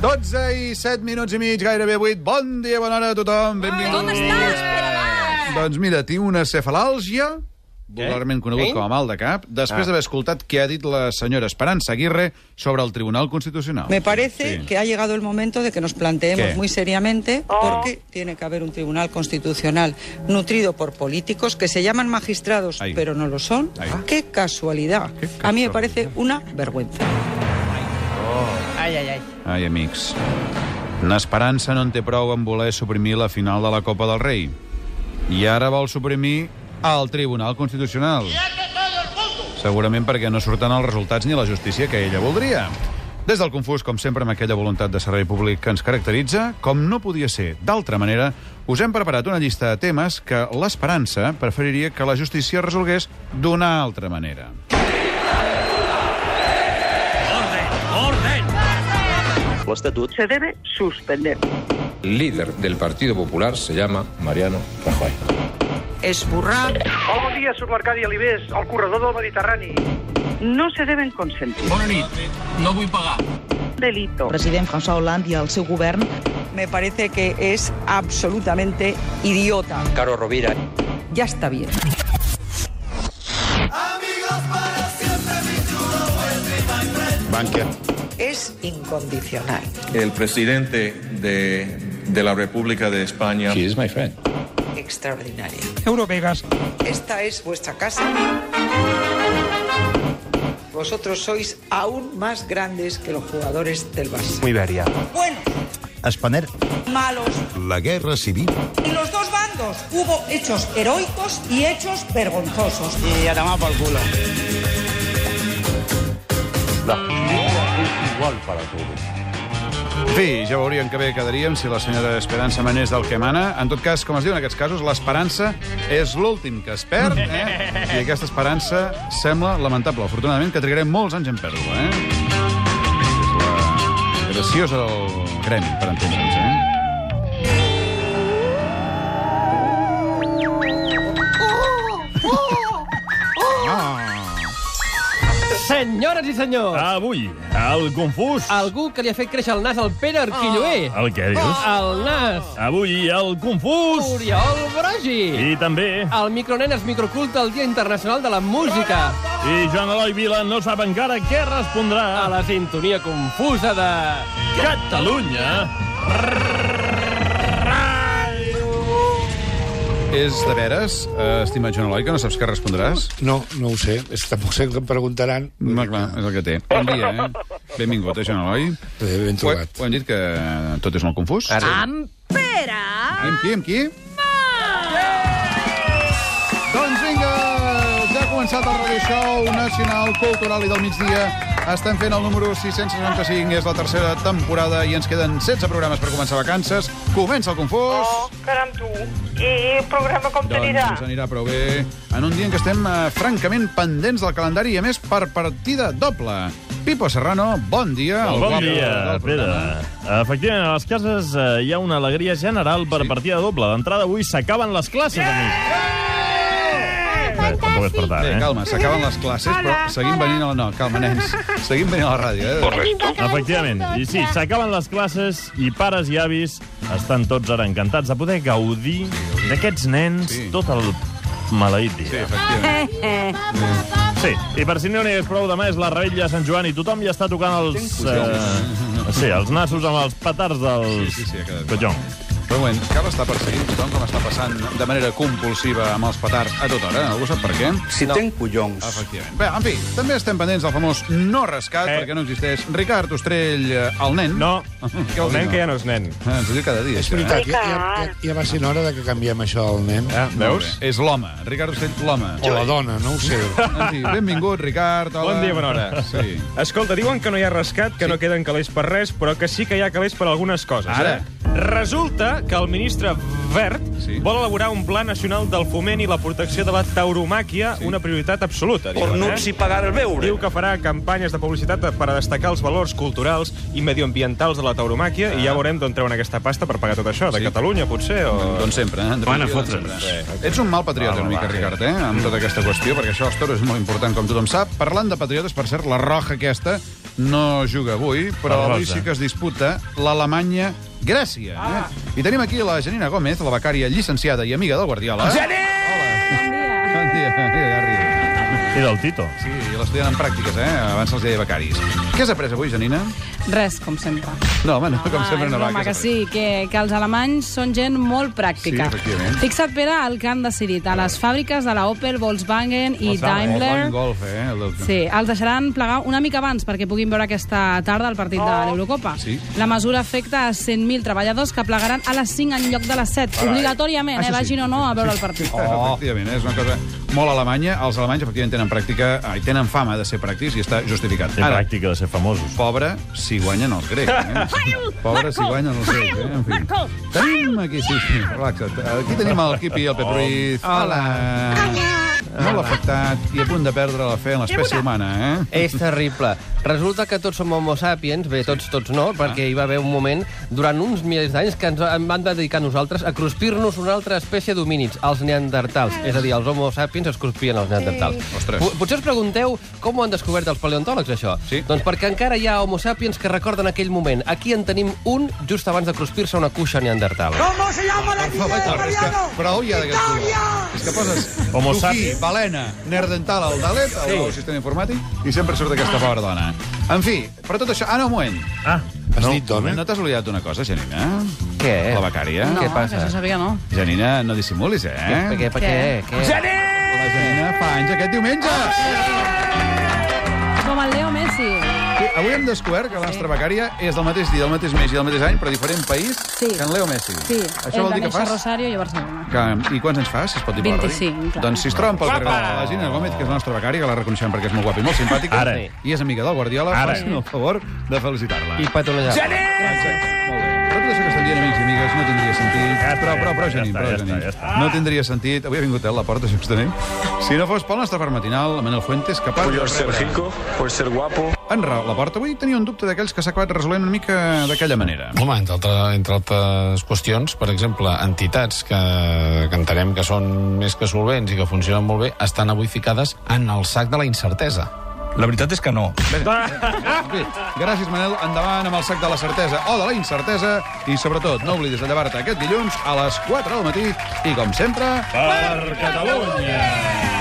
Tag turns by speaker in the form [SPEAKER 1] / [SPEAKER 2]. [SPEAKER 1] 12 i 7 minuts i mig, gairebé 8. Bon dia, bona hora a tothom. Benvinguts.
[SPEAKER 2] Com estàs, Pere Mas?
[SPEAKER 1] Doncs mira, tinc una cefalàlgia, vulgarment conegut com a mal de cap, després d'haver escoltat què ha dit la senyora Esperanza Aguirre sobre el Tribunal Constitucional.
[SPEAKER 3] Me parece
[SPEAKER 1] Sí.
[SPEAKER 3] que ha llegado el momento de que nos planteemos
[SPEAKER 1] ¿Qué?
[SPEAKER 3] muy seriamente por qué tiene que haber un tribunal constitucional nutrido por políticos que se llaman magistrados
[SPEAKER 1] Ahí.
[SPEAKER 3] pero no lo son.
[SPEAKER 1] Ahí.
[SPEAKER 3] ¡Qué casualidad!
[SPEAKER 1] Qué
[SPEAKER 3] A mí me
[SPEAKER 1] casualidad.
[SPEAKER 3] parece una vergüenza.
[SPEAKER 4] Ai, ai, ai.
[SPEAKER 1] Ai, amics. L'Esperança no en té prou en voler suprimir la final de la Copa del Rei. I ara vol suprimir el Tribunal Constitucional. Segurament perquè no surten els resultats ni la justícia que ella voldria. Des del confús, com sempre, amb aquella voluntat de servei públic que ens caracteritza, com no podia ser d'altra manera, us hem preparat una llista de temes que l'Esperança preferiria que la justícia resolgués d'una altra manera.
[SPEAKER 5] L'estatut
[SPEAKER 6] se debe suspender.
[SPEAKER 7] El líder del Partido Popular se llama Mariano Rajoy.
[SPEAKER 3] Esburrar.
[SPEAKER 8] Bon dia, soc l'Arcadi Alibés, al corredor del Mediterrani.
[SPEAKER 6] No se deben consentir.
[SPEAKER 8] Bona nit. No vull pagar.
[SPEAKER 6] Delito.
[SPEAKER 4] President François Hollande i el seu govern
[SPEAKER 3] Me parece que es absolutamente idiota.
[SPEAKER 5] Caro Rovira.
[SPEAKER 3] Ya está bien.
[SPEAKER 1] Bànquia.
[SPEAKER 3] Es incondicional.
[SPEAKER 9] el presidente de, de la República de España.
[SPEAKER 7] He is my friend.
[SPEAKER 3] Extraordinaria.
[SPEAKER 4] Eurovegas.
[SPEAKER 3] Esta es vuestra casa. Vosotros sois aún más grandes que los jugadores del Barça.
[SPEAKER 10] Iberia.
[SPEAKER 3] Bueno,
[SPEAKER 10] Spanair.
[SPEAKER 3] malos.
[SPEAKER 10] La guerra civil.
[SPEAKER 3] En los dos bandos hubo hechos heroicos y hechos vergonzosos.
[SPEAKER 4] I a demà pel culo.
[SPEAKER 1] En fi, ja veurien que bé quedaríem si la senyora Esperança manés del que mana. En tot cas, com es diu en aquests casos, l'esperança és l'últim que es perd, eh? I aquesta esperança sembla lamentable. Afortunadament, que trigarem molts anys en perdre, eh? És la graciosa del gremi, per entendre'ns, eh?
[SPEAKER 4] Senyores i senyors, ah.
[SPEAKER 8] Avui, el confús.
[SPEAKER 4] algú que li ha fet créixer el nas al Pere Arquilloé.
[SPEAKER 8] El què dius?
[SPEAKER 4] El nas.
[SPEAKER 8] Avui, el confús.
[SPEAKER 4] Oriol Brogi.
[SPEAKER 8] I també...
[SPEAKER 4] El micronen es microculta el Dia Internacional de la Música.
[SPEAKER 8] I Joan Eloi Vila no sap encara què
[SPEAKER 4] A
[SPEAKER 8] respondrà.
[SPEAKER 4] la sintonia confusa de...
[SPEAKER 8] Catalunya.
[SPEAKER 1] És de veres, eh, estimat Joan Eloi, que no saps què respondràs?
[SPEAKER 11] No, no ho sé. És, tampoc sé que em preguntaran.
[SPEAKER 1] Ma, clar, és el que té. Bon dia, eh? Benvingut, eh, Joan Eloi?
[SPEAKER 11] Eh, ben
[SPEAKER 1] Ho,
[SPEAKER 11] trobat.
[SPEAKER 1] ho hem dit que tot és molt confús. Ara.
[SPEAKER 2] Amb Pere
[SPEAKER 1] Amb qui, amb qui? Doncs vinga, ja ha començat el Radio Show Nacional Cultural i del migdia. Estem fent el número 665, és la tercera temporada i ens queden 16 programes per començar vacances. Comença el confús.
[SPEAKER 6] Oh, caram, tu. I el programa com t'anirà?
[SPEAKER 1] Doncs ens anirà prou bé en un dia en què estem eh, francament pendents del calendari i, a més, per partida doble. Pipo Serrano, bon dia. el
[SPEAKER 8] Bon
[SPEAKER 1] Ah, guapo
[SPEAKER 8] dia,
[SPEAKER 1] del
[SPEAKER 8] Pere.
[SPEAKER 1] programa.
[SPEAKER 8] Efectivament, a les cases eh, hi ha una alegria general per partida doble. D'entrada, avui s'acaben les classes, amics. Bé, tampoc és per tant,
[SPEAKER 1] Bé,
[SPEAKER 8] eh?
[SPEAKER 1] calma, s'acaben les classes, però seguim venint a la... No, calma, nens. Seguim venint a la ràdio, eh?
[SPEAKER 8] Efectivament. I sí, s'acaben les classes i pares i avis estan tots ara encantats de poder gaudir d'aquests nens
[SPEAKER 1] Sí.
[SPEAKER 8] tot el maleït dia.
[SPEAKER 1] Efectivament.
[SPEAKER 8] Sí, i per si no n'hi hagués prou, demà és la revetlla de Sant Joan i tothom ja està tocant els... Eh, sí, els nassos amb els petards dels...
[SPEAKER 1] Sí, sí, sí, ha quedat clar.
[SPEAKER 8] Collons.
[SPEAKER 1] Però bueno, cal estar perseguint tothom com està passant de manera compulsiva amb els petards a tota hora. Algú sap per què?
[SPEAKER 5] Si no. tenc
[SPEAKER 10] Ah,
[SPEAKER 5] collons.
[SPEAKER 10] pues,
[SPEAKER 1] Efectivament. Bé, en fi, també estem pendents del famós no rescat, eh.
[SPEAKER 8] Eh.
[SPEAKER 1] perquè no existeix. Ricard Ostrell, eh, el nen.
[SPEAKER 8] No,
[SPEAKER 1] Què
[SPEAKER 8] el
[SPEAKER 1] vol dir,
[SPEAKER 8] nen que ja no és nen.
[SPEAKER 1] Eh, Ens ho diu cada dia,
[SPEAKER 11] És
[SPEAKER 1] això, eh?
[SPEAKER 11] veritat, ja, ja, ja, ja va sent hora de que canviem això del nen.
[SPEAKER 8] Eh,
[SPEAKER 1] Molt
[SPEAKER 8] veus?
[SPEAKER 1] bé. És l'home. Ricard Ostrell, l'home.
[SPEAKER 11] O la dona, no ho sé.
[SPEAKER 1] En fi, benvingut, Ricard. Hola.
[SPEAKER 8] Bon dia, bona hora.
[SPEAKER 1] Sí.
[SPEAKER 8] Escolta, diuen que no hi ha rescat, que sí. no queden calés per res, però que sí que hi ha calés per algunes coses.
[SPEAKER 1] Ara.
[SPEAKER 8] Eh? Resulta que el ministre Verd
[SPEAKER 1] Sí.
[SPEAKER 8] sí. vol elaborar un pla nacional del foment i la protecció de la tauromàquia, sí. una prioritat absoluta. diuen,
[SPEAKER 10] ¿eh?
[SPEAKER 8] eh?
[SPEAKER 5] Cornuts i pagar el beure.
[SPEAKER 8] Diu que farà campanyes de publicitat per a destacar els valors culturals i medioambientals de la tauromàquia i ja veurem d'on treuen aquesta pasta per pagar tot això. De
[SPEAKER 1] Sí.
[SPEAKER 8] Catalunya, potser, o...
[SPEAKER 1] Doncs sempre, eh?
[SPEAKER 8] Van a
[SPEAKER 1] Doncs
[SPEAKER 8] fotre'ns.
[SPEAKER 1] sempre. Ets un mal patriota,
[SPEAKER 8] Va,
[SPEAKER 1] una
[SPEAKER 8] va,
[SPEAKER 1] mica,
[SPEAKER 8] va,
[SPEAKER 1] Ricard, eh? Amb tota aquesta qüestió, perquè això dels toros és molt important, com tothom sap. Parlant de patriotes, per cert, la roja aquesta no juga avui, però
[SPEAKER 8] La Rosa.
[SPEAKER 1] avui sí que es disputa l'Alemanya-Grècia. Ah. Eh? I tenim aquí la Janina Gómez, la becària llicenciada i amiga del Guardiola. Janina! Hola. Bon dia. Bon dia. Ja arriba.
[SPEAKER 8] I del Tito.
[SPEAKER 1] Sí, l'estudiant en pràctiques, eh? Abans els deia becaris. Què has après avui, Janina?
[SPEAKER 12] Res, com sempre.
[SPEAKER 1] No, home, no, com
[SPEAKER 12] Ah,
[SPEAKER 1] sempre
[SPEAKER 12] és
[SPEAKER 1] no va.
[SPEAKER 12] broma,
[SPEAKER 1] què
[SPEAKER 12] que
[SPEAKER 1] has
[SPEAKER 12] sí, que, que els alemanys són gent molt pràctica.
[SPEAKER 1] Sí, efectivament.
[SPEAKER 12] Fixa't, Pere, el que han decidit. A les fàbriques de la Opel, Volkswagen i
[SPEAKER 1] Molt sala, molt bon
[SPEAKER 12] Daimler...
[SPEAKER 1] golf, eh? El...
[SPEAKER 12] Sí, els deixaran plegar una mica abans perquè puguin veure aquesta tarda el partit de l'Eurocopa.
[SPEAKER 1] Sí.
[SPEAKER 12] La mesura afecta a 100.000 treballadors que plegaran a les 5 en lloc de les 7, obligatòriament,
[SPEAKER 1] Això
[SPEAKER 12] eh,
[SPEAKER 1] sí.
[SPEAKER 12] vagin o no a veure el partit.
[SPEAKER 1] Oh. Efectivament, eh, és una cosa molt alemanya. Els alemanys, efectivament, tenen pràctica, ai, tenen fama de ser pràctics i està justificat.
[SPEAKER 8] Té pràctica de ser famosos.
[SPEAKER 1] pobre si guanyen els grecs. Eh? Pobre si guanyen els grecs. Eh? En fi. Tenim aquí, sí, sí, relaxa't. Aquí tenim el Quipi i el Pep Ruiz. Hola. Molt afectat i a punt de perdre la fe en l'espècie humana, eh?
[SPEAKER 13] És terrible. Resulta que tots som homo sapiens, bé, tots, tots
[SPEAKER 1] Ah.
[SPEAKER 13] no, perquè hi va haver un moment durant uns milers d'anys que ens en van dedicar a nosaltres a cruspir-nos una altra espècie d'homínids, els neandertals.
[SPEAKER 12] Ah.
[SPEAKER 13] És a dir, els homo sapiens es cruspien els neandertals.
[SPEAKER 1] Ostres.
[SPEAKER 13] Po- Potser us pregunteu com ho han descobert els paleontòlegs, això. Sí. Doncs perquè encara hi ha homo sapiens que recorden aquell moment. Aquí en tenim un just abans de cruspir-se una cuixa neandertal.
[SPEAKER 14] ¿Cómo se llama la italiano?
[SPEAKER 1] Prou ja d'aquest color. És que poses
[SPEAKER 8] Homo
[SPEAKER 1] Duquí,
[SPEAKER 8] sapiens.
[SPEAKER 1] balena, nerdental al dalet, al nou sistema informàtic, i sempre surt aquesta pobra dona. En fi, però tot això... Ah, no, un moment.
[SPEAKER 8] Ah,
[SPEAKER 11] Has dit dona?
[SPEAKER 1] No t'has oblidat d'una cosa, Janina?
[SPEAKER 13] Què?
[SPEAKER 1] La becària?
[SPEAKER 12] No, que això sabia, no.
[SPEAKER 1] Janina, no dissimulis, eh?
[SPEAKER 13] Per què? Per què? què?
[SPEAKER 1] La Janina fa anys aquest diumenge!
[SPEAKER 12] Com el Leo Messi.
[SPEAKER 1] Sí, Avui hem descobert que la nostra becària és del mateix dia, del mateix mes i del mateix any, però diferent país
[SPEAKER 12] Sí.
[SPEAKER 1] que en Leo Messi.
[SPEAKER 12] Sí,
[SPEAKER 1] Això
[SPEAKER 12] ell
[SPEAKER 1] vol dir
[SPEAKER 12] va
[SPEAKER 1] que
[SPEAKER 12] néixer a
[SPEAKER 1] fas...
[SPEAKER 12] Rosario i a Barcelona.
[SPEAKER 1] Que, I quants anys fas, si es pot dir per la ràdio?
[SPEAKER 12] 25, clar.
[SPEAKER 1] Doncs si es troben pel carrer la Gina Gómez, que és la nostra becària, que la reconeixem perquè és molt guapa i molt simpàtica,
[SPEAKER 8] Ara.
[SPEAKER 1] i és amiga del Guardiola,
[SPEAKER 8] Ara.
[SPEAKER 1] facin el favor de felicitar-la.
[SPEAKER 13] I petonejar.
[SPEAKER 1] Tot això que estan dient, amics i amigues, no tindria sentit.
[SPEAKER 8] Ja està,
[SPEAKER 1] però, però, però,
[SPEAKER 8] ja
[SPEAKER 1] Janín,
[SPEAKER 8] està,
[SPEAKER 1] però,
[SPEAKER 8] ja
[SPEAKER 1] Janín.
[SPEAKER 8] està, ja està.
[SPEAKER 1] No tindria sentit. Avui ha vingut eh, a la porta, justament. Si no fos pel nostre part matinal, el Manel Fuentes, capaç... de rebre-
[SPEAKER 15] por ser guapo.
[SPEAKER 1] En raó, la porta avui tenia un dubte d'aquells que s'ha acabat resolent una mica d'aquella manera.
[SPEAKER 16] Home, entre, altra, entre altres qüestions, per exemple, entitats que, que entenem que són més que solvents i que funcionen molt bé, estan avui ficades en el sac de la incertesa. La veritat és que no.
[SPEAKER 1] Bé, bé, gràcies, Manel. Endavant amb el sac de la certesa o de la incertesa. I, sobretot, no oblidis de llevar-te aquest dilluns a les 4 del matí. I, com sempre...
[SPEAKER 8] Per Catalunya!